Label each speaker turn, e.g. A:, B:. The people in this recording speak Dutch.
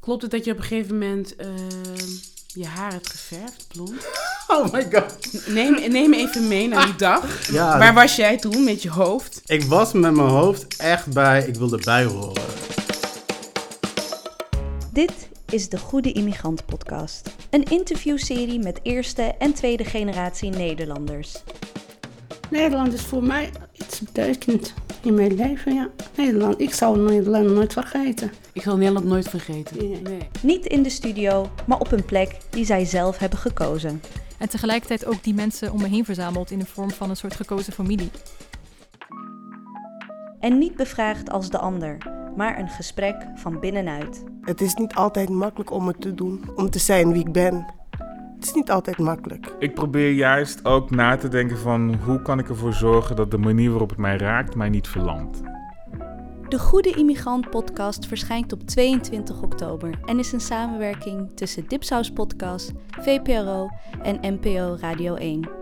A: Klopt het dat je op een gegeven moment eh, je haar hebt geverfd, blond?
B: Oh my god.
A: Neem, neem even mee naar die dag.
B: Ja,
A: Waar was jij toen met je hoofd?
B: ik was met mijn hoofd echt bij, ik wilde bij horen.
C: Dit is de Goede Immigrant Podcast. Een interviewserie met eerste en tweede generatie Nederlanders.
D: Nederland is voor mij iets betekend in mijn leven, ja. Nederland, ik zal Nederland nooit vergeten.
A: Ik zal Nederland nooit vergeten.
D: Nee.
C: Niet in de studio, maar op een plek die zij zelf hebben gekozen.
E: En tegelijkertijd ook die mensen om me heen verzameld in de vorm van een soort gekozen familie.
C: En niet bevraagd als de ander, maar een gesprek van binnenuit.
F: Het is niet altijd makkelijk om het te doen, om te zijn wie ik ben. Het is niet altijd makkelijk.
G: Ik probeer juist ook na te denken van hoe kan ik ervoor zorgen dat de manier waarop het mij raakt mij niet verlamt.
C: De Goede Immigrant Podcast verschijnt op 22 oktober en is een samenwerking tussen Dipsaus Podcast, VPRO en NPO Radio 1.